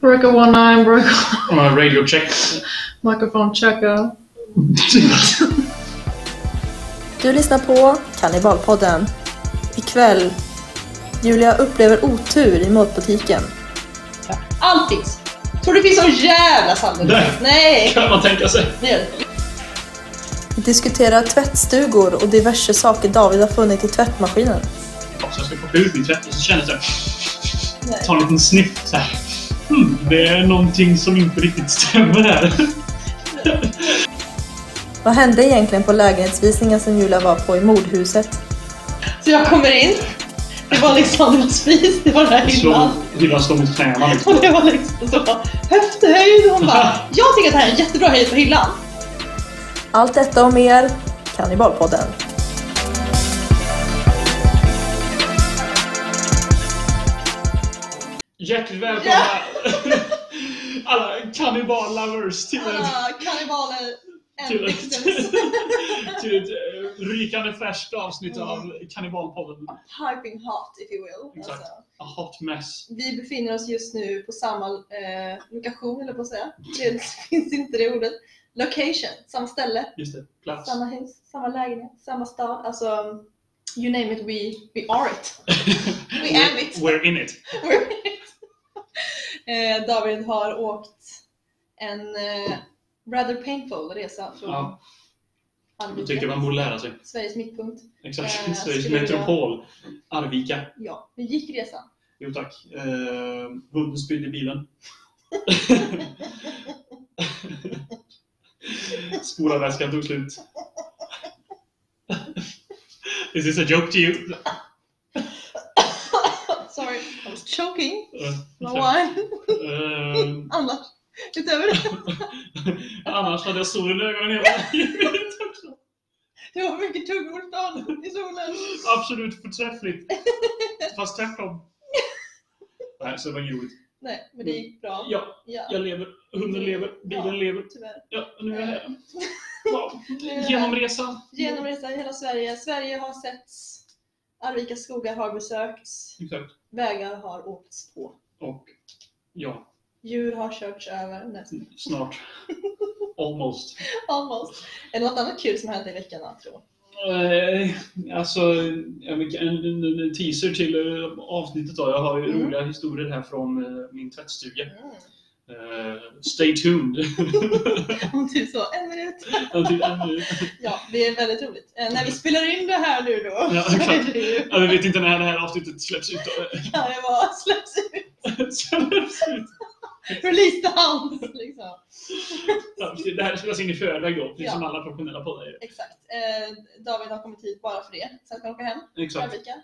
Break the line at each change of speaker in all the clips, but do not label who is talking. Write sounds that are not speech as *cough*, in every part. Broker one nine, broker
Uh, radio check.
*laughs* microphone checker.
Du lyssnar på Kannibalpodden. Ikväll. Julia upplever otur i matbutiken.
Alltid. Tror du finns sån jävla sannolikhet? Nej.
kan man tänka sig.
Nej.
Vi diskuterar tvättstugor och diverse saker David har funnit i tvättmaskinen.
Ja, Så jag ska plocka ut min tvätt och så känner jag såhär... Ta en liten sniff såhär. Hmm, det är någonting som inte riktigt stämmer här.
Vad hände egentligen på lägenhetsvisningen som Julia var på i mordhuset?
Så jag kommer in. Det var Alexandras spis, det var där
Slå,
innan.
hyllan slår mot knäna liksom.
Och det var liksom så bara, höfthöjd. Hon bara,
*laughs*
jag tycker att det här är en jättebra höjd på hyllan.
Allt detta och mer, Kannibalpodden.
Hjärtligt välkomna *laughs* alla kannibal-lovers till ett,
Alla kannibaler and
till ett, *laughs*
victims.
till ett eh, rykande färskt avsnitt av Kannibalpodden.
Hyping hot if you will.
Exakt.
Alltså,
A hot mess.
vi befinner oss just nu på samma eh, lokation, eller på att säga. Det *laughs* finns inte det ordet. Location, samma ställe.
Just det, plats. *laughs*
Samma hus, samma lägenhet, samma stad. Alltså, you name it, we, we are it. We am it.
We're in it.
We're it. Eh, David har åkt en eh, rather painful resa från
Ja. Jag tycker
Arvika,
man borde lära sig.
Sveriges mittpunkt.
Exakt. *laughs*
Eh,
Sveriges
skulle jag-
Liksom. metropol. Arvika.
Ja, hur gick resan?
Jo tack. Eh, Hunden spydde i
*laughs*
bilen. Spolarväskan tog slut. Is this a joke to you?
*laughs* Sorry, I was choking.
Eh,
No
tack.
wine.
Eh,
Annars, utöver det,
Annars hade jag solen i ögonen hela livet också.
det var mycket tuggmotstånd i solen.
Absolut förträffligt. Fast tvärtom. Nej, så det var inget roligt.
Nej, men det gick bra.
Ja,
Ja,
jag lever. Hunden lever. Bilen
Ja.
lever.
tyvärr.
Ja, nu är jag
*laughs*
här. Wow. Genomresa.
Genomresa i hela Sverige. Sverige har setts. Arvikas skogar har besökts.
Exakt.
Vägar har åkts på.
Och ja,
Djur har körts över. Nej, *laughs*
snart. Almost.
Almost. Är det något annat kul som hände i veckan Antro?
Eh, Alltså, jag vill- en, en, en teaser till eh, avsnittet då. Jag har ju
Mm.
roliga historier här från eh, min tvättstuga.
Mm.
Eh, Stay tuned. *laughs*
Om typ så en minut.
Jag tycker att nu-
Ja, det är väldigt roligt. Eh, när vi spelar in det här nu då *laughs*
Ja,
så
exakt.
är det ju...
Ja, vi vet inte när det här avsnittet släpps ut.
*laughs*
då.
Kan det vara släpps ut?
släpps ut.
Release the hounds liksom.
Ja, Det här spelas in i förväg då, precis
Ja.
som alla professionella poddar gör.
Exakt. Eh, David har kommit hit bara för det. Sen ska han åka hem till
Exakt.
Arvika.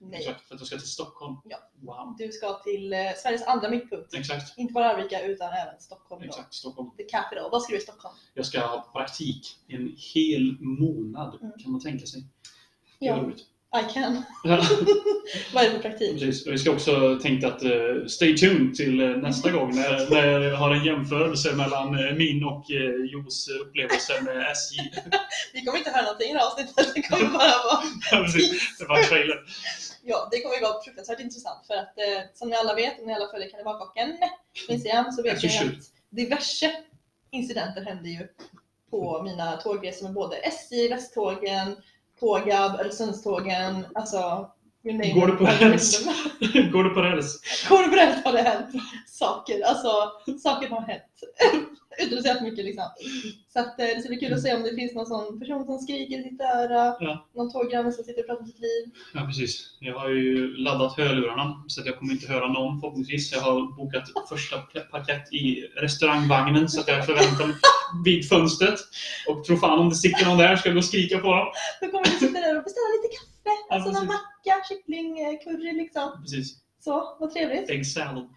Nej.
Exakt, för att jag ska till Stockholm.
Ja.
Wow.
Du ska till eh, Sveriges andra mittpunkt.
Exakt,
Inte bara Arvika utan även Stockholm. Då.
exakt. Stockholm.
The capital. Vad ska du i Stockholm?
Jag ska ha praktik i en hel månad,
Mm.
kan man tänka sig. Det är
Ja,
roligt.
I can.
Ja,
Vad är det för praktik?
precis. Och vi ska också tänka att eh, stay tuned till eh, nästa gång när, när jag har en jämförelse mellan eh, min och eh, Jos upplevelse med SJ.
Vi kommer inte höra någonting i det här avsnittet. Det kommer bara vara...
*laughs* Ja, precis. Det var en trailer.
Ja, det kommer vara fruktansvärt intressant för att eh, som ni alla vet, om ni alla följer Kannibalkocken på Instagram så vet ni
Official.
att diverse incidenter hände ju på mina tågresor med både SJ, Västtågen, Tågab, Öresundstågen, alltså... you name
Går
it.
du på räls? Går du på räls?
*laughs* Går du på räls har det hänt saker. Alltså, saker har hänt. *laughs* Utan att säga för mycket liksom. Så att, eh, det ska bli kul att se om det finns någon sån person som skriker i sitt öra,
Ja.
någon tåggranne som sitter och pratar om sitt liv.
Ja, precis. Jag har ju laddat hörlurarna så att jag kommer inte höra någon förhoppningsvis. Jag har bokat första parkett i restaurangvagnen så att jag förväntar mig vid fönstret. Och tro fan om det sitter någon där ska jag gå och skrika på dem.
Då kommer du sitta där och beställa lite kaffe,
Ja,
alltså någon
precis.
macka, kyckling, eh, curry liksom.
Precis.
Så, vad trevligt.
Äggsallad.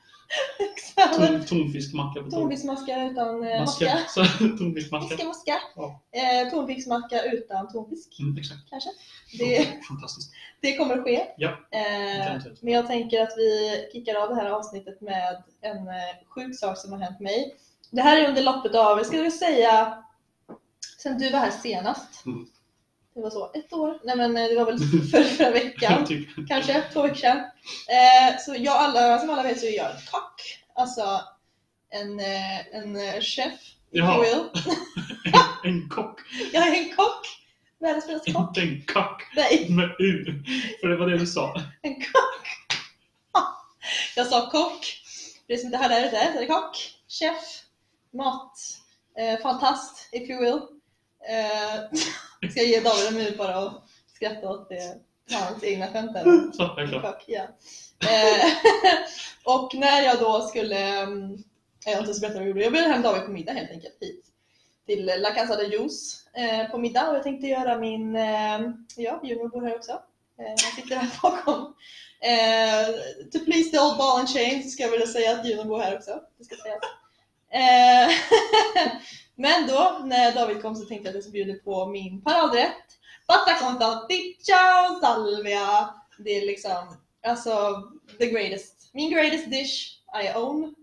Exakt. *laughs*
Ton, tonfiskmacka på tåget.
Tonfiskmaska utan eh,
typ- Maska.
macka.
Så, *laughs* tonfiskmacka.
Maska, maska.
Ja.
Eh, tonfiskmacka utan tonfisk.
Mm, exakt.
Kanske. Det-
Fantastiskt.
Det kommer att ske.
Ja,
eh,
garanterat.
men jag tänker att vi kickar av det här avsnittet med en eh, sjuk sak som har hänt mig. Det här är under loppet av, jag skulle vilja säga, sen du var här senast.
Mm.
Det var så, ett år? Nej men eh, det var väl för, förra
*laughs*
veckan.
typ.
kanske två veckor sedan. Eh, så jag alla, som alla vet så är jag en kock. Alltså, en, eh, en eh, chef,
Jaha.
Will.
En kock,
Jag är en kock! Världens bästa kock.
inte en kack
Nej,
med U. För det var det du sa.
en kock! *laughs* Jag sa kock. Det som inte hade det där, det är kock, chef, mat, eh, fantast, if you will. Eh, *laughs* ska jag ge David en minut bara och skratta åt det, hans egna skämt där.
Så, det är klart.
Fuck, ja. Eh, *laughs* och när jag då skulle, mm, jag har inte ens berättat vad jag gjorde, jag bjöd hem David på middag helt enkelt hit. Till La Casa de Juice eh, på middag och jag tänkte göra min, eh, ja Junior bor här också. Eh, han sitter här *laughs* bakom. Eh, to please the old ball and chain så ska jag vilja säga att Junior bor här också. Det ska sägas. Eh, *laughs* men då när David kom så tänkte jag att jag skulle bjuda på min paradrätt. Pasta con salsiccia och salvia. Det är liksom, alltså the greatest. Min greatest dish I own.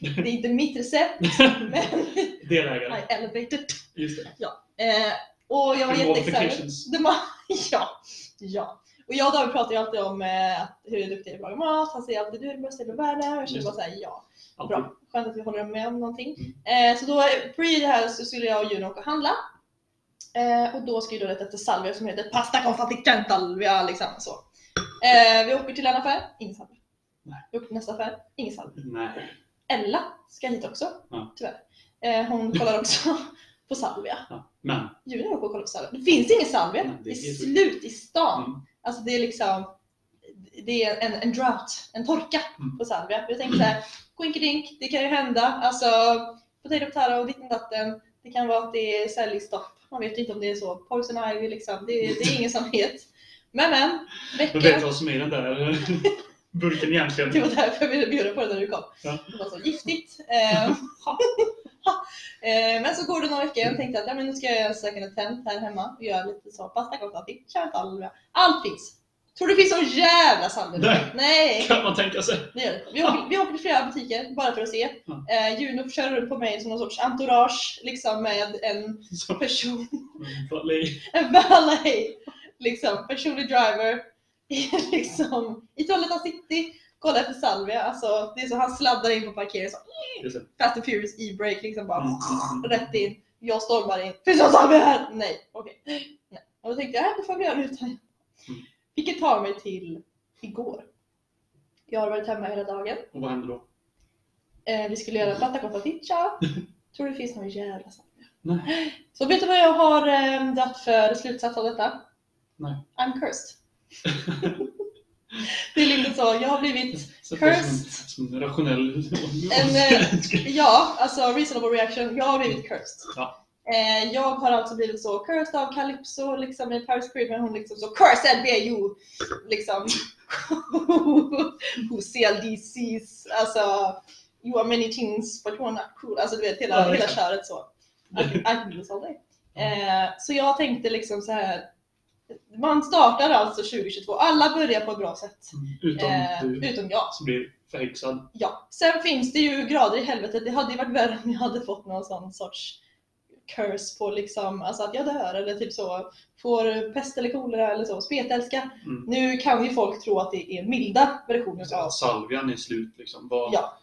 Det är inte mitt recept, men
Delägare.
I elevated.
Just det.
Eh, och jag var
The
jätteexcited.
modifications.
The mo- *laughs* ja, ja. Och jag och David pratar ju alltid om eh, att hur duktig jag är på att laga mat. Han säger alltid du är den bästa i hela världen. Och jag känner
Just
bara såhär, ja.
Alltid.
Bra. Skönt att vi håller med om någonting. Eh, så då, pre det här så skulle jag och Juno åka och handla. Eh, och då ska vi då leta efter salvia som heter pasta con fatica salvia liksom så. Eh, vi åker till en affär, ingen salvia.
Nej.
Vi åker till nästa affär, ingen salvia.
Nej.
Ella ska hit också,
Ja.
tyvärr. Eh, hon kollar också *laughs* på salvia.
Ja. Men.
Julia åker och kollar på salvia. Det finns ingen salvia.
Nej, det
det, är
är helt
slut i stan.
Mm.
Alltså det är liksom det är en, en drought, en torka
Mm.
på salvia. Jag tänkte såhär, quinkidink, det kan ju hända. Alltså, potato potato, ditten datten. Det kan vara att det är säljstopp. Man vet ju inte om det är så. Poison ivy liksom. Det, det är ingen som vet. Men men,
*laughs* Du vet
veckan.
vad som är i den där *laughs* burken egentligen.
Det var därför jag ville bjuda på det när du kom.
Ja.
Det var så giftigt. Eh, *laughs* Eh, men så går det några veckor och tänkte att ja, men nu ska jag göra second attempt här hemma och göra lite så pasta gotati, salvia. Allt finns! Tror du det finns så jävla salvia?
Nej.
Nej!
Kan man tänka sig.
Det gör det. Vi, åker, vi åker till flera butiker bara för att se.
Ja.
Eh, Juno kör runt på mig som någon sorts entourage liksom med en
Så.
person
Valet.
en valet, liksom, personlig driver, i, liksom, i Trollhättan city, kolla efter Salvia. Alltså, det är så han sladdar in på parkeringen, så,
Just det.
Fast and Furious e-break, liksom bara
Mm, mm, mm.
rätt in. Jag stormar in, finns det någon Salvia här? Nej, okej. Nej. Och då tänkte jag, äh, det får vi göra utan. Vilket tar mig till igår. Jag har varit hemma hela dagen.
Och vad händer då?
Eh, vi skulle göra platta con fatica. Tror det finns någon jävla Salvia.
Nej.
Så vet du vad jag har eh, dratt för slutsats av detta?
Nej.
I'm cursed. *laughs* Det är lite så, jag har blivit,
Sätt det som,
Cursed.
som en rationell...
En,
*laughs*
eh, ja, alltså reasonable reaction, jag har blivit cursed.
Ja.
Eh, jag har alltså blivit så cursed av Calypso, liksom i Paris Creamer, hon liksom så cursed be you! Liksom. *laughs* Who sell these seas, alltså you are many things but you are not cool. Alltså du vet hela,
Ja,
hela
exakt.
köret så.
*laughs*
I can do something. Eh, så jag tänkte liksom så här. Man startar alltså 2022, alla börjar på ett bra sätt.
Utom
Eh,
du
utom jag.
som blir förhäxad.
Ja. Sen finns det ju grader i helvetet. Det hade ju varit värre om jag hade fått någon sån sorts curse på liksom, alltså att jag dör eller typ så, får pest eller kolera eller så, spetälska.
Mm.
Nu kan ju folk tro att det är milda versioner av,
Salvian är slut liksom. Vad,
Ja.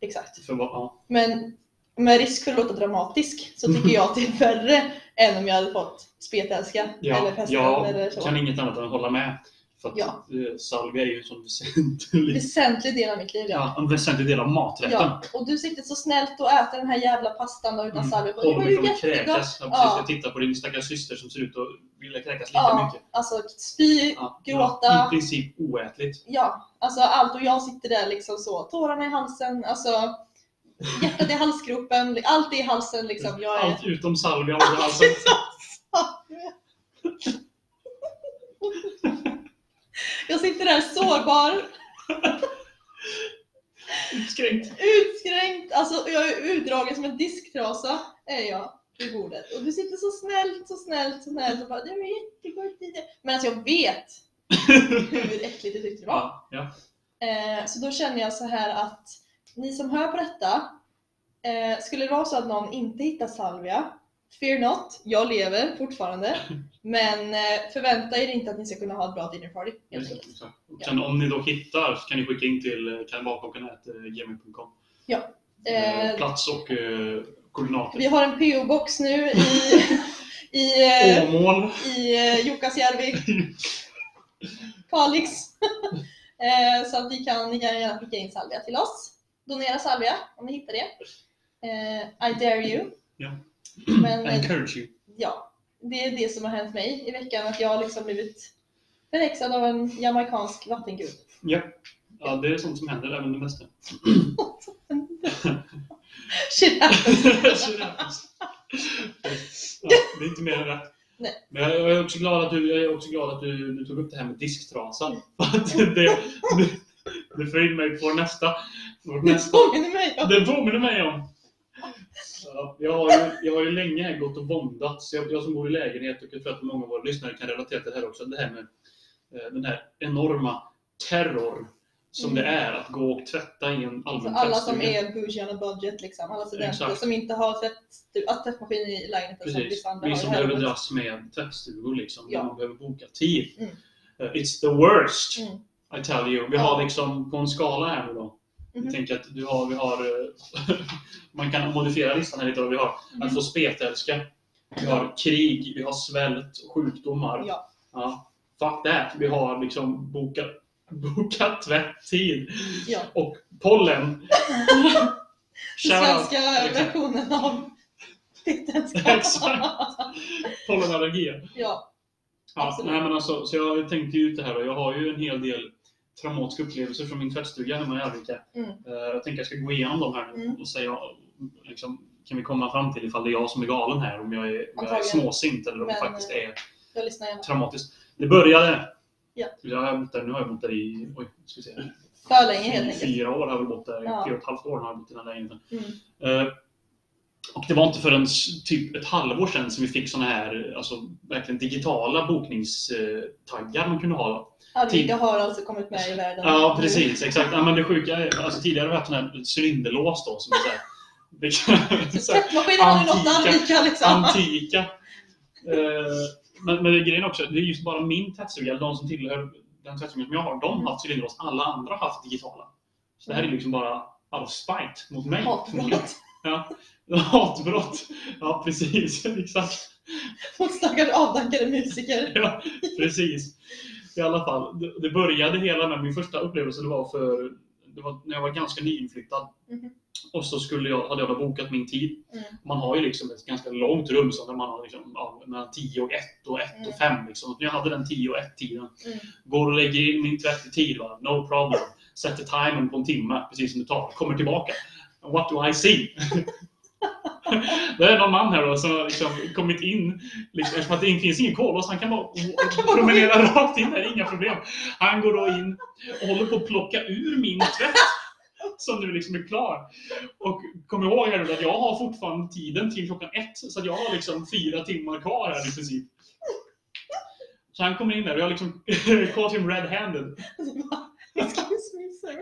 exakt.
För vad, ja.
Men med risk för att låta dramatisk så tycker jag att det är värre än om jag hade fått spetälska eller
Ja,
pesten eller
jag
så.
kan inget annat än att hålla med. För att
Ja.
eh, salvia är ju en sån väsentlig,
Väsentlig del av mitt liv ja.
ja, en väsentlig del av maträtten.
ja. Och du sitter så snällt och äter den här jävla pastan då utan
Mm.
salvia. på. Det var
Oliver
ju
kommer
jättegott.
kräkas. Ja, precis.
Ja.
Jag tittar på din stackars syster som ser ut att vilja kräkas lika
Ja.
mycket.
Alltså spy,
Ja,
Gråta.
det var I princip oätligt.
ja. Alltså allt och jag sitter där liksom så, tårarna i halsen, alltså hjärtat i halsgropen, allt är i halsen liksom. Jag är...
Allt utom salvia. Och
*laughs*
alltså,
Jag sitter där sårbar,
utskränkt.
utskränkt, alltså jag är utdragen som en disktrasa är jag i bordet. Och du sitter så snällt, så snällt, så snällt och bara det var jättegott i det. Men alltså jag vet hur äckligt du tyckte det var.
Ja, ja.
Eh, så då känner jag så här att ni som hör på detta, eh, skulle det vara så att någon inte hittar salvia, fear not, jag lever fortfarande. Men eh, förvänta er inte att ni ska kunna ha ett bra dinner party helt
Just det,
enkelt.
exakt. Och Kan, om ni då hittar så kan ni skicka in till eh, kannibalkockarna@gmail.com.
Ja. Eh,
Plats och eh, koordinater.
vi har en PO-box nu i, i, eh,
Åmål.
i eh, Jukkasjärvi, Kalix. *laughs* Eh, Så att vi kan, ni kan gärna skicka in salvia till oss. Donera salvia om ni hittar det. Eh, I dare you.
Ja.
Men eh,
Encourage you.
ja, det är det som har hänt mig i veckan. Att jag har liksom blivit förhäxad av en jamaicansk vattengud. *laughs*
Ja. ja, det är sånt som händer även det mesta.
Shit.
Så det är- ja, det är inte mer än rätt.
Nej.
Men jag jag är också glad att, du, jag är också glad att du, du tog upp det här med disktrasan. För att det, det, det för in mig på nästa. Vår
Det
nästa
påminner mig om...
Det påminner mig om. Ja, Jag har ju, jag har ju länge här gått och våndats. Jag, jag som bor i lägenhet och jag tror att många av våra lyssnare kan relatera till det här också. Det här med eh, den här enorma terror som det är att gå och tvätta i en
Mm. Alltså
allmän
alla som
tvättstuga.
är bougie on a budget liksom. Alla studenter
Exakt.
som inte har tvätt, alltså, tvättmaskin i lägenheten som
Precis.
vissa andra
Vi
har i
som
här
behöver
rummet.
dras med tvättstugor liksom.
Ja.
Där man behöver boka tid.
Mm.
Eh, It's the worst.
Mm.
I tell you. Vi
Ja.
har liksom på en skala här nu då. Jag
Mhm.
tänker att du har, vi har, eh, *laughs* man kan modifiera listan här lite. Då. Vi har
Mm.
att få spetälska. Vi har krig, vi har svält, sjukdomar.
Ja.
Ja. Fuck that. Vi har liksom bokat *laughs* boka tvätt-tid.
ja.
Och
*laughs*
pollen.
Den
Shout out.
svenska
Exakt.
versionen av *laughs* titeln
Exakt. Pollenallergier.
Ja.
Ja,
Absolut.
nej, men alltså, så jag tänkte ju ut det här och jag har ju en hel del traumatiska upplevelser från min tvättstuga hemma i Arvika.
Mm.
Eh, Jag tänker jag ska gå igenom dem här nu
Mm.
och säga liksom, kan vi komma fram till ifall det är jag som är galen här, om jag är, om jag är
Antagligen.
småsint eller om det
Men, eh,
faktiskt är
Jag lyssnar gärna.
traumatiskt. Det började...
Ja.
Jag har bott där, nu har jag bott där i oj, ska vi se,
För länge helt
i
enkelt.
fyra år har jag väl bott där,
Ja.
fyra och ett halvt år har jag bott i den här lägenheten.
Mm.
Eh, Och det var inte förrän s- typ ett halvår sedan som vi fick såna här alltså, verkligen digitala bokningstaggar man kunde ha.
Arvika har alltså kommit med i världen.
Ja, precis. Exakt. Ja, men det sjuka är, alltså, tidigare har vi haft sån här cylinderlås då, som är så här, det
*laughs*
kan, så här, *laughs*
Tvättmaskinen har ju nått
Antika.
Arvika liksom.
antika. Eh, men, men grejen är också, det är just bara min tvättstuga, eller de som tillhör den tvättstugan som jag har, de har haft cylinderlås. Alla andra har haft digitala. Så det här är liksom bara out of spite mot mig.
Hatbrott
*laughs* Hatbrott. Ja, precis. *laughs* Exakt.
mot stackars avdankade musiker.
Ja, *laughs* precis. I alla fall, det- det började hela med min första upplevelse. Det var, för, det var när jag var ganska nyinflyttad.
Mhm.
Och så skulle jag, hade jag då bokat min tid.
Mm.
Man har ju liksom ett ganska långt rum så där man har liksom, ja, mellan 10 och 1 och 1 och 5. Liksom. Jag hade den 10 och 1-tiden.
Mm.
Går och lägger in min tvätt i tid. Va? No problem. Sätter timern på en timme, precis som det tar. Kommer tillbaka. What do I see? *laughs* det är någon man här då som har liksom kommit in. Liksom, eftersom att det inte finns ingen kollås. Han kan bara promenera rakt in där. Inga problem. Han går då in och håller på att plocka ur min tvätt. Som nu liksom är klar. Och kom ihåg här nu att jag har fortfarande tiden till klockan ett. Så att jag har liksom fyra timmar kvar här i princip. Så han kommer in där och jag liksom *laughs* caught him red-handed.
Excuse me sir.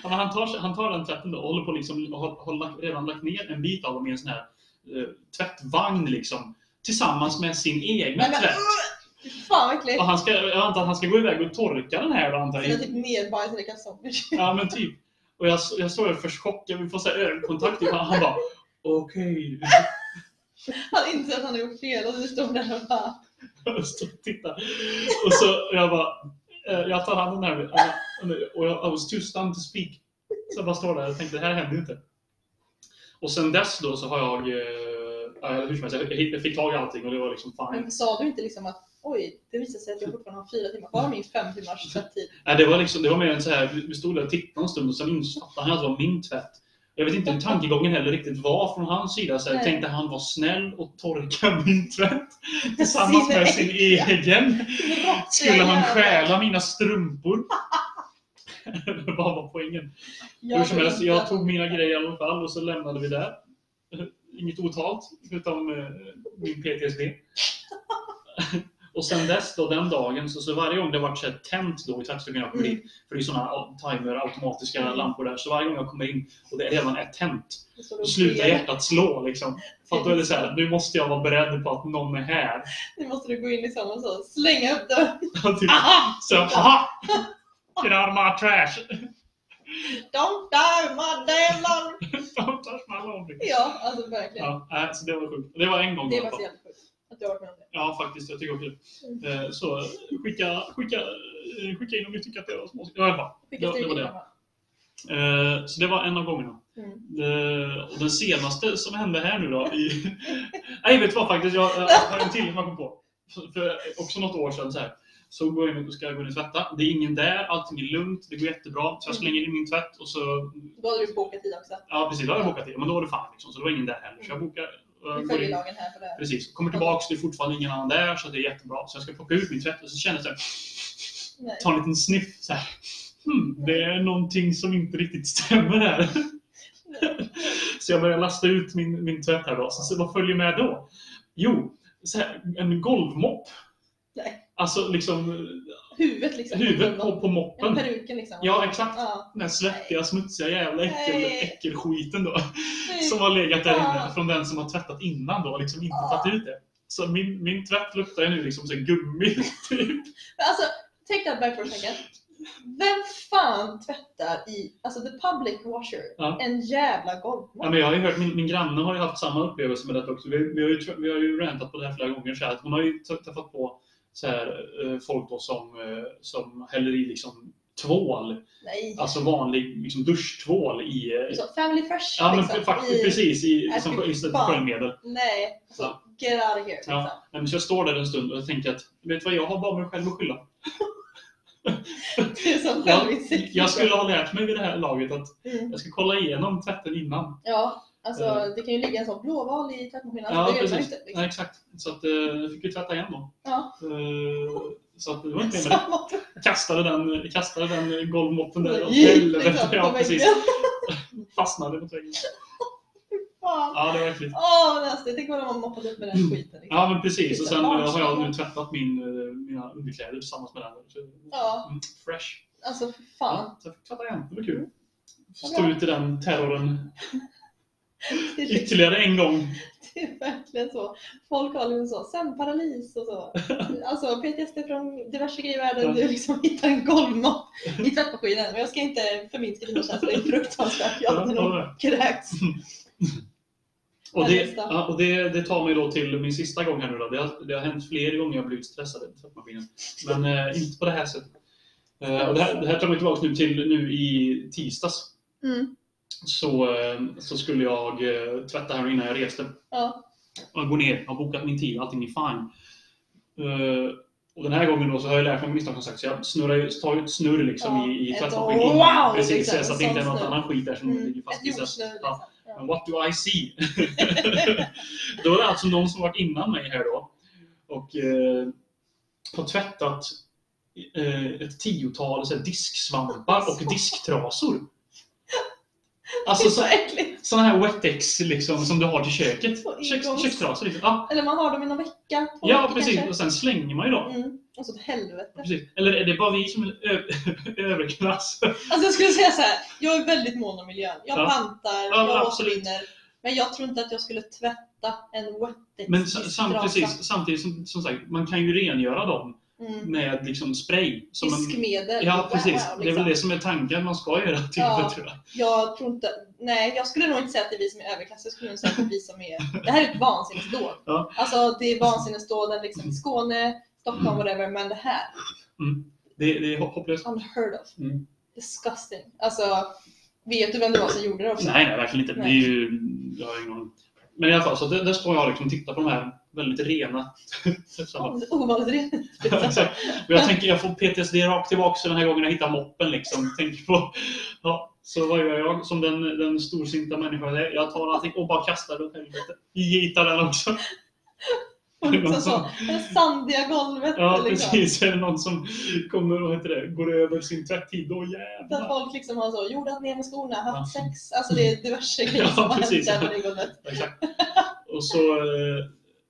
Ja, men han, tar, han tar den tvätten då och håller på liksom, och har, har lagt, redan lagt ner en bit av dem i en sån här eh, tvättvagn liksom. Tillsammans med sin egna
Nej, men,
tvätt.
Fy Fan vad äckligt.
Och han ska, jag antar att han ska gå iväg och torka den här då antar
Sina
jag.
typ nedbajsade kalsonger.
Ja men typ. Och jag, jag såg det för chocken, vi får så här ögonkontakt. Han, han bara okej.
Han inser att han har gjort fel och så står där och bara
Jag stod och tittade. Och så och jag bara, eh, jag tar handen här. Och jag I was too stunned to speak. Så jag bara står där och tänkte, det här händer ju inte. Och sen dess då så har jag, eh, ja, hur som helst, jag hitt- jag fick tag i allting och det var liksom fine.
Men sa du inte liksom att oj, det visar sig att jag fortfarande har fyra timmar kvar av min fem timmars tvätttid.
Nej, det var liksom, det var mer en så här, vi- vi stod där och tittade en stund och sen insatte han att det var min tvätt. Jag vet inte hur tankegången heller riktigt var från hans sida. Så jag
Nej.
tänkte han var snäll och torka min *laughs* tvätt *laughs* tillsammans med sin egen. Skulle han stjäla mina strumpor? *laughs* det var bara poängen. Hur som helst, jag tog mina grejer i alla fall och så lämnade vi där. *laughs* Inget otalt, utom eh, min PTSD. *laughs* och sen dess då, den dagen, så, så varje gång det varit så här tänt då i tvättstugan jag kommer in, för det är sådana timer, automatiska
Mm.
lampor där, så varje gång jag kommer in och det redan är tänt, då
Då
slutar hjärtat slå liksom. För att då är det så här, nu måste jag vara beredd på att någon är här. *laughs*
Nu måste du gå in liksom och så slänga upp dörren.
Och typ, så, aha! Get out of my trash! *laughs*
De där maddelarna!
aldrig.
Ja, alltså verkligen.
Ja, nej, så det var sjukt. Det var en gång i
Det är
alla fall.
faktiskt helt sjukt att jag har varit med om det.
Ja, faktiskt. Jag tycker också det. Eh, Så eh, skicka, skicka, eh, skicka in om ni tycker att det var småskit. Ja, i alla fall.
Skicka
Ja, det var
stryk
det.
hemma.
Eh, Så det var en av gångerna.
Mm.
Eh, Och den senaste som hände här nu då? I... *laughs* Nej, vet du vad faktiskt? Jag jag har en till som jag kom på. För- För också något år sedan så här. Så går jag in och ska gå in och tvätta. Det är ingen där, allting är lugnt, det går jättebra. Så jag slänger in min tvätt och så...
Då hade du bokat tid också.
Ja, precis. Då har jag bokat det. Men då var det fan liksom, så det var ingen där heller. Så jag bokar. eh,
Vi
går
följer
in.
lagen här för det här.
Precis. Kommer tillbaks, det är fortfarande ingen annan där, så det är jättebra. Så jag ska plocka ut min tvätt och så känner jag så här,
Nej.
ta en liten sniff så här. Hmm, det är någonting som inte riktigt stämmer här. *laughs* Så jag börjar lasta ut min, min tvätt här då. Så, så vad följer med då? Jo, så här, en golvmopp.
Nej.
Alltså liksom
Huvudet liksom.
huvudet på, på
Ja,
moppen.
peruken liksom.
Ja, exakt.
Ja.
Den här svettiga, smutsiga jävla äckel,
Nej.
äckelskiten då. *laughs* Som har legat där inne från den som har tvättat innan då, liksom inte tagit ut det. Så min, min tvätt luktar ju nu liksom så här gummi, typ.
Men Alltså, take that back for a second. Vem fan tvättar i, alltså the public washer,
Ja.
en jävla golvmopp?
Ja, men jag har ju hört, min, min granne har ju haft samma upplevelse med detta också. Vi, vi, har, ju, tr- vi har ju rantat på det här flera gånger. Så här, att hon har ju t- träffat på så här, eh, folk då som, eh, som häller i liksom tvål,
Nej.
alltså vanlig liksom duschtvål i... eh,
Så family fresh
Ja, men
liksom.
faktiskt
i,
precis, i,
Nej,
som,
fy
istället för
fan.
sköljmedel.
Nej, alltså,
Ja.
get out of here. Liksom. *laughs*
Ja. Nej, men Så jag står där en stund och tänker att, vet du vad, jag har bara mig själv att skylla.
Det är som *laughs* liksom.
Jag,
självinsikt.
jag skulle ha lärt mig vid det här laget att
Mm.
jag ska kolla igenom tvätten innan.
Ja, alltså
Eh.
det kan ju ligga en sån blåval i tvättmaskinen. Alltså,
Ja,
det gör man ju
precis.
inte. Liksom.
Nej, exakt. Så att, eh, jag fick ju tvätta igen då.
Ja.
Eh, så att det var inte mer med det.
Samma tvätt.
kastade den, kastade den golvmoppen där åt
Gick, liksom,
helvete.
på
Ja,
väggen.
precis. Fastnade mot väggen.
Fan.
Ja, det var äckligt.
Åh, vad nasty. Tänk om de har moppat upp med den skiten. Liksom.
Mm. Ja, men precis. Och sen eh, har jag nu tvättat min, eh, mina underkläder tillsammans med den. Så,
Ja.
mm, Fresh.
Alltså, för fan.
Ja, så jag fick tvätta igen. Det var
Mm.
kul.
Vad
Stå
bra.
ut i den terrorn
Det är,
ytterligare en gång.
*laughs* det är verkligen så. Folk har liksom så, sömnparalys och
*laughs*
så. Alltså PTSD från diverse grejer i världen. Du liksom hittar en golvmopp i tvättmaskinen. Men jag ska inte förminska dina känslor. Det är fruktansvärt. Jag hade nog kräkts.
Och,
Ja,
det,
just det.
ja, och det, det tar mig då till min sista gång här nu då. Det har, det har hänt fler gånger jag blivit stressad i tvättmaskinen. Men eh, inte på det här sättet. Eh, och det, här, det här tar mig tillbaka nu till nu i tisdags.
Mm.
Så, eh, så skulle jag eh, tvätta här innan jag reste.
Ja.
Och jag går ner, jag har bokat min tid, allting är fine. Eh, och den här gången då så har jag lärt mig av misstag som sagt, så jag snurrar, ju- tar ju ett snurr liksom
Ja,
i, i
ett
tvättmaskinen.
wow,
Precis,
liksom,
så att det inte är
sån
något
snurr.
annan skit där som
Mm.
ligger fast.
Ett
i så här-
jordsnurr
Ja.
liksom. Ja.
men What do I see? *laughs* då är det alltså någon som varit innan mig här då och eh, har tvättat eh, ett tiotal så här, disksvampar och disktrasor.
Det är
Alltså
så äckligt.
sådana här wettex liksom, som du har till köket.
På
Köks,
ingångs-
kökstrasor. Liksom. Ja,
Eller man har dem i någon vecka. två
ja,
veckor
precis.
kanske.
Och sen slänger man ju dem.
Mm. Och så åt helvete.
Precis. Eller är det bara vi som är ö- *laughs* överklass?
Alltså jag skulle säga så här. jag är väldigt mån om miljön. Jag
Ja.
pantar,
Ja, men
jag
absolut.
återvinner. Men jag tror inte att jag skulle tvätta en wettex
Men sam- sam- precis, samtidigt som, som sagt, man kan ju rengöra dem
Mm.
med liksom spray. Som en-
Diskmedel.
Ja, precis.
Wow,
Det är
liksom.
väl det som är tanken man ska göra till
Ja.
det, tror jag.
Jag tror inte, nej jag skulle nog inte säga att det är vi som är överklass, jag skulle nog säga att det är vi som är, det här är ett vansinnesdåd.
Ja.
Alltså det är vansinnesdåden liksom i Skåne, Stockholm, whatever, men det här,
Det, det är hop- hopplöst.
unheard of.
Mm.
Disgusting. Alltså, vet du vem det var som gjorde det också?
Nej, nej, verkligen inte. Det är ju... Jag har ingen aning. Men i alla fall, så där, där står jag och liksom tittar på de här väldigt rena *laughs* tvättsarna.
Oh, Ovanligt rent.
Exakt. och jag tänker jag får PTSD rakt tillbaka så den här gången jag hittar moppen. Liksom. Tänker på, ja, så vad gör jag som den, den storsinta människan jag är? Jag tar allting och bara kastar det åt helvete. Gitar den också.
Och liksom
*laughs*
så, det sandiga golvet.
Ja,
liksom.
precis. Är det någon som kommer och heter det, går över sin tvättid, då
Där
jävlar.
folk liksom har så jordat ner med skorna, haft
Ja.
sex. Alltså det är diverse grejer
*laughs* Ja,
som har hänt
precis.
där på det golvet.
Exakt. Och så, eh,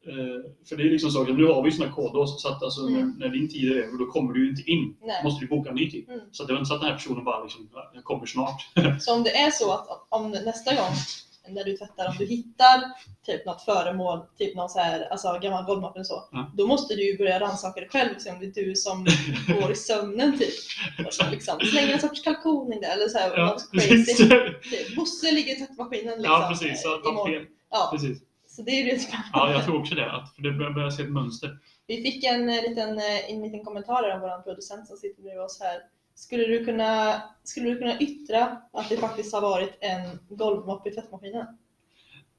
eh, för det är liksom så, att nu har vi ju såna koder så att alltså,
Mm.
när, när din tid är över då kommer du ju inte in.
Nej.
Då måste du boka en ny tid.
Mm.
Så att det var inte så att den här personen bara liksom, "Ja, jag kommer snart.
Så om det är så att om nästa gång när du tvättar, om du hittar typ något föremål, typ någon så här, alltså gammal golvmopp eller så,
Ja.
då måste du ju börja rannsaka dig själv och se om det är
*laughs*
du som går i sömnen typ. Och så Liksom, slänger en sorts kalkon i det eller så här,
Ja,
något
*laughs* precis.
crazy. Typ, Bosse ligger i tvättmaskinen liksom,
Ja, precis. Så att man
imorgon.
fel.
Ja,
Precis.
så det är ju rätt spännande.
Ja, jag tror också det. Att, för det börjar, börjar se ett mönster.
Vi fick en eh, liten, eh, en liten kommentar av vår producent som sitter bredvid oss här. Skulle du, kunna, skulle du kunna yttra att det faktiskt har varit en golvmopp i tvättmaskinen?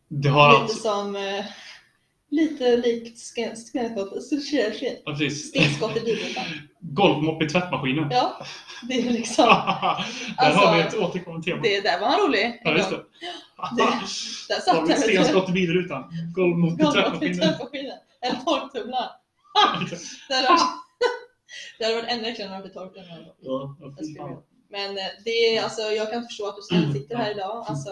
Det har
Lite
alltså...
som, eh, lite likt sten- stenskott, sten-
Ja, precis.
stenskott i
*laughs*
bilrutan.
Golvmopp i tvättmaskinen.
Ja, det är liksom,
*laughs* Där
Alltså,
har vi ett återkommande tema.
det där var han rolig.
Ja, just *laughs* det.
Där satt
Har vi
han med
ett
*laughs*
stenskott i bilrutan? Golvmopp i
golvmopp i
tvättmaskinen.
tvättmaskinen. Eller torktumlaren.
*laughs*
Det hade varit- *laughs* det hade varit ännu äckligare om vi torktumlaren.
Ja, ja,
Jag
fy
skulle
fan.
vilja. Men eh, det är, alltså, jag kan förstå att du
*clears throat*
snällt sitter här idag. Alltså,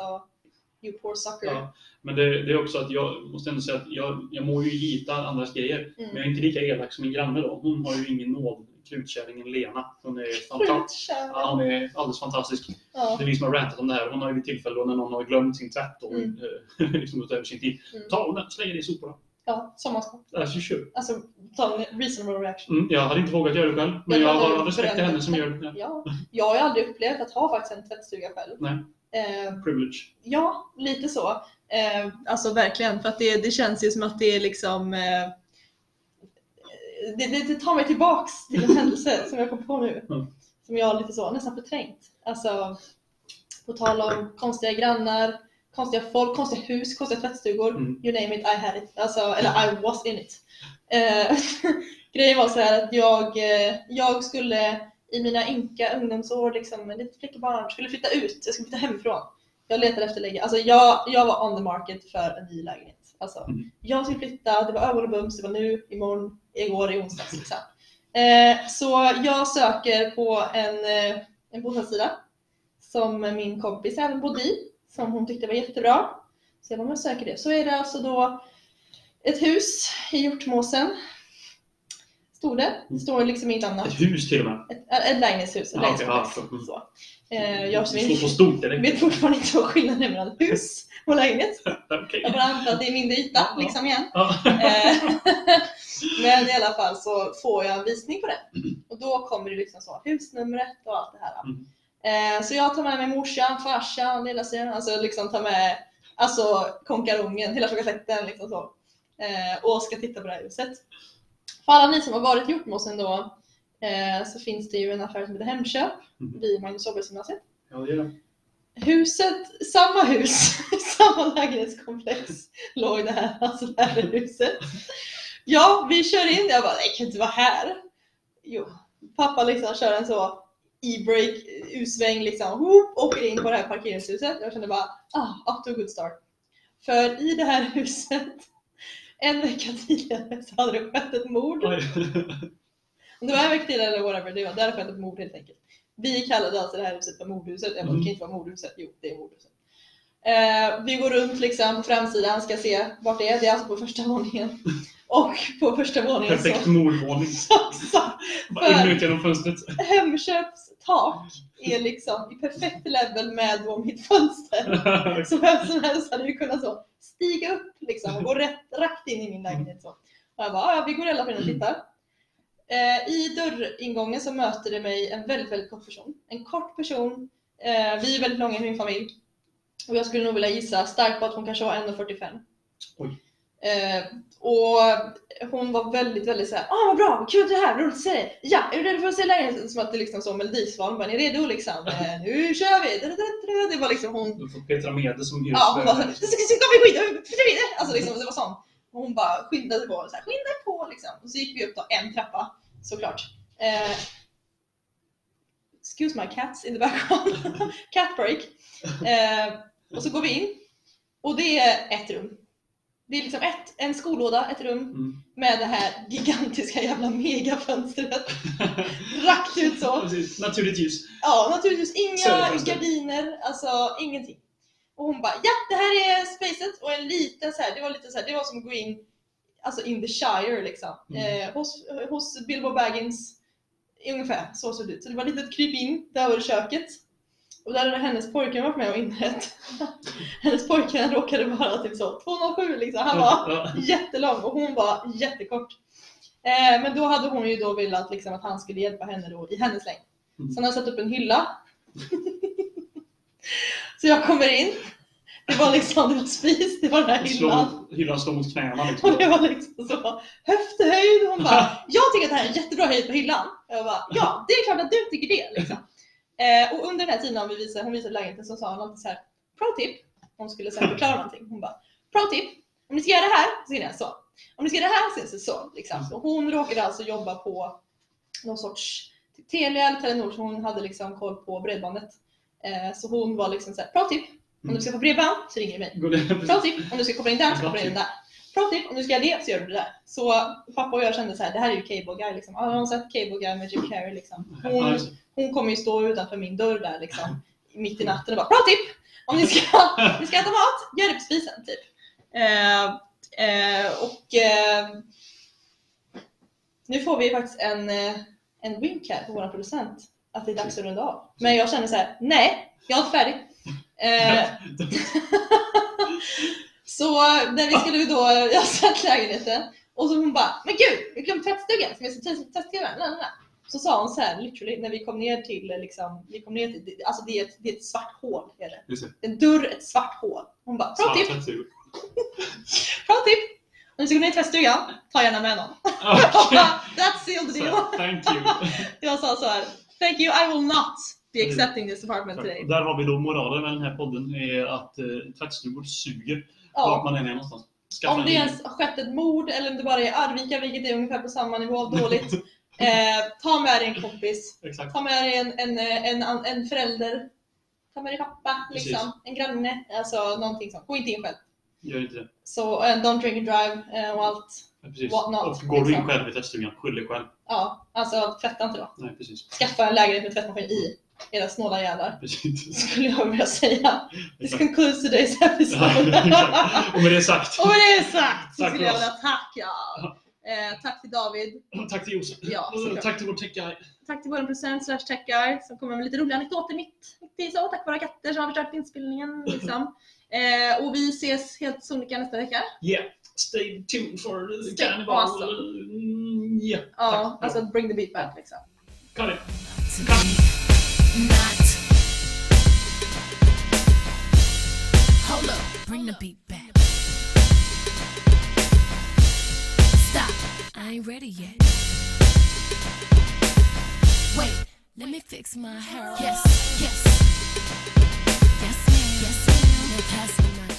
you poor sucker.
Ja, men det, det är också att jag måste ändå säga att jag, jag mår ju gita andras grejer.
Mm.
Men jag är inte lika elak som min granne då. Hon har ju ingen nåd. Krutkärringen Lena. Hon är
*laughs*
fantastisk.
Sjukt kär.
Ja, hon är alldeles fantastisk.
Ja.
Det är vi som har rantat om det här. Hon har ju vid tillfälle då när någon har glömt sin tvätt och
Mm.
eh, *laughs* liksom gått över sin tid.
Mm.
Ta hon den, slänger det i soporna.
Ja, som man ska.
Alltså, kör.
Alltså, ta en reasonable reaction.
Mm, jag hade inte vågat göra det själv, men
Jag
jag
hade
har all respekt till
bränt
henne som
den.
gör det.
Ja. Jag har ju aldrig upplevt att ha faktiskt en tvättstuga själv.
Nej.
Eh,
Privilege.
ja, lite så. Eh, alltså verkligen, för att det, det känns ju som att det är liksom eh, det, det, det tar mig tillbaks till
*laughs*
en händelse som jag kom på nu.
Mm.
Som jag har lite så, nästan förträngt. Alltså, på tal om konstiga grannar, konstiga folk, konstiga hus, konstiga tvättstugor.
Mm.
You name it, I had it. Alltså, eller I was in it. Eh, *laughs* grejen var så här att jag, eh, jag skulle i mina ynka ungdomsår, liksom, med lite flickebarn, skulle flytta ut. Jag skulle flytta hemifrån. Jag letade efter läge. Alltså, jag, jag var on the market för en ny lägenhet. Alltså,
Mm.
Jag skulle flytta, det var ögon och bums, det var nu, imorgon, igår, i onsdags. Liksom. Eh, så jag söker på en, eh, en bostadssida som min kompis även bodde i, som hon tyckte var jättebra. Så jag bara, men jag söker det. Så är det alltså då ett hus i Hjortmåsen. Stod det. Det står liksom inget annat.
Ett hus till och med.
Ett, äh, ett lägenhetshus. Ett
Ja,
lägenhetskomplex.
okej, ja, så.
så. Eh, jag
Slå på
vet,
stort
*laughs* vet
direkt.
fortfarande inte vad skillnaden är mellan hus och lägenhet.
Okej.
Jag bara antar att det är mindre yta
Ja.
liksom igen.
Ja.
Eh, *laughs* Men i alla fall så får jag en visning på det. Och då kommer det liksom så, husnumret och allt det här.
Mm.
Eh, Så jag tar med mig morsan, farsan, lillasyrran, alltså liksom tar med alltså konkarungen, hela släkten liksom så. Eh, Och ska titta på det här huset. För alla ni som har varit i Hjortmossen då eh, så finns det ju en affär som heter Hemköp
Mm.
vid Magnus Åbergs gymnasium.
Ja, det gör jag.
Huset, samma hus, *laughs* samma lägenhetskomplex låg det här, alltså det här huset. Ja, vi kör in det. Jag bara, det kan inte vara här. Jo, pappa liksom kör en så e-break, U-sväng liksom, whoop, åker in på det här parkeringshuset. Jag kände bara, ah, up to a good start. För i det här huset, en vecka tidigare så hade det skett ett mord.
Oj.
Om det var en vecka till eller whatever, det var därför jag hade mord helt enkelt. Vi kallade alltså det här huset för mordhuset. Jag bara, det kan inte vara mordhuset. Jo, det är mordhuset. Eh, vi går runt liksom på framsidan, ska se vart det är. Det är alltså på första våningen. Och på första våningen så,
Perfekt mordvåning.
så
Bara in ut genom fönstret.
Hemköps tak är liksom i perfekt level med då mitt fönster. Så vem *laughs* som helst hade ju kunnat så stiga upp liksom och gå rätt, rakt in i min lägenhet. Så. Och jag bara, "Ah, ja vi går i alla fall in och tittar. Eh, I dörringången så möter det mig en väldigt, väldigt kort person. En kort person. Eh, vi är väldigt långa i min familj. Och jag skulle nog vilja gissa starkt på att hon kanske var 1,45.
Oj.
Eh, och hon var väldigt, väldigt såhär, ah vad bra, vad kul att du är här, roligt att se dig. Ja, är du redo för att se lägenheten? Som att det liksom så Melodifestivalen, bara, ni är redo liksom? Eh, nu kör vi! Det var liksom hon
Du får Petra Mede som
Ja, hon bara *laughs* såhär,
hyresvärd.
ska vi skynda, vi skynda, vi skynda. Alltså liksom, det var sånt. Och Hon bara skyndade på, så här, skynda på liksom. Och så gick vi upp då en trappa, såklart. Eh, excuse my cats in the background. *laughs* Cat break. Eh, och så går vi in. Och det är ett rum. Det är liksom ett, en skolåda, ett rum
Mm.
med det här gigantiska jävla megafönstret. *laughs* Rakt ut så.
Precis. Naturligt ljus.
Ja, naturligtvis inga
Söderfönster.
gardiner, alltså ingenting. Och hon bara, ja det här är spacet och en liten så här, det var lite så här, det var som att gå in alltså in the shire liksom.
Mm.
Eh, hos, hos Bilbo Baggins ungefär så såg det ut. Så det var lite ett kryp in, där var det köket. Och där hade hennes pojkvän varit med och inrett. *laughs* hennes pojkvän råkade vara typ så 207 liksom.
Mm.
Han var
Ja,
jättelång och hon var jättekort. Eh, men då hade hon ju då velat liksom, att han skulle hjälpa henne då, i hennes längd.
Mm.
Så han har satt upp en hylla.
*laughs*
så jag kommer in. Det var liksom det var spis, det var den här
ja.
hyllan.
Slå, hyllan slår mot knäna
*laughs* Och
liksom.
det var liksom så höfthöjd. Hon bara, jag tycker att det här är en jättebra höjd på hyllan. Jag bara, ja det är klart att du tycker det. Liksom. Eh, och under den här tiden när vi visade, hon visade lägenheten så sa hon alltid så här, pro tip. Hon skulle sen förklara någonting. Hon bara, pro tip. Om ni ska göra det här så är det så. Om ni ska göra det här så är det så. Liksom. Så hon råkade alltså jobba på någon sorts typ Telia eller Telenor så hon hade liksom koll på bredbandet. Eh, så hon var liksom så här, pro tip. Om du ska få bredband så ringer du mig.
Går det-
Pro tip, om du ska koppla in den så koppla in den där. Pro tip, om du ska göra det så gör du det där. Så pappa och jag kände så här, det här är ju Cable Guy liksom. Har någon sett Cable Guy med Jim Carrey liksom?
Ja,
Hon,
just det.
hon kommer ju stå utanför min dörr där liksom, mitt i natten och bara Pro tip! Om ni ska, om ni ska äta mat, gör det på spisen typ. Eh, eh, och eh, nu får vi faktiskt en, eh, en wink här på vår producent att det är dags att runda av. Men jag känner så här, nej, jag är inte färdig. Eh, *laughs* så när vi skulle då, jag har sett lägenheten och så hon bara, men gud, vi glömde tvättstugan som jag ska test- testskriva. den, den, den." Så sa hon så här, literally, när vi kom ner till, liksom, vi kom ner till, det- alltså det är ett, det är ett svart hål. Är det.
Just det.
En dörr, ett svart hål. Hon bara, bra tips,
Svart
*laughs*
tvättsug.
bra tips! Om du ska gå ner i tvättstugan, ta gärna med någon. *laughs* Jag
Okej.
bara, That's the deal.
Så, Thank you.
Jag sa så här, thank you, I will not be accepting this apartment today.
Mm. Tack. Mm. Där har vi då moralen med den här podden. är att eh, tvättstugor suger. Vart
Ja.
man än är någonstans. Skaffa
Om det
en egen.
ens har skett ett mord eller om det bara är Arvika, vilket är ungefär på samma nivå av
*laughs*
dåligt. Eh, ta med dig en kompis.
Exakt.
Ta med dig en, en, en, en, en förälder. Ta med dig pappa, liksom.
Precis.
en granne. Alltså någonting sånt. Gå inte in själv.
Gör inte det.
Så eh, don't drink and drive eh, och allt.
Ja, Precis.
What not,
Och går du in
liksom. Mm.
själv i tvättstugan, skyll dig själv.
Ja, alltså tvätta inte då.
Nej, precis.
Skaffa en lägenhet med tvättmaskin i. Era snåla jävlar. *laughs*
Precis. *laughs*
Skulle jag vilja säga. This
Exakt.
concludes today's
Ja, *laughs*
episode.
exakt. Och med det sagt.
och med det sagt så
Tack
skulle
för
jag
oss.
vilja tacka. Eh, tack till David.
Tack till Josef.
Ja, såklart.
Mm, Tack till vår tech guy.
Tack till vår producent slash tech guy som kommer med lite roliga anekdoter mitt mitt i så. Tack våra katter som har förstört inspelningen.
*laughs*
Liksom. Eh, och vi ses helt sonika nästa vecka.
Yeah. Stay tuned for the
Stay
carnival.
awesome. Oh,
Mm, Yeah.
Ja,
Tack.
alltså bring the beat back liksom.
Cut it.
Not. Hold up, bring the beat back. Stop, I ain't ready yet. Wait, let me fix my hair. Yes, yes. Yes, ma'am. Yes, ma'am. Now pass me my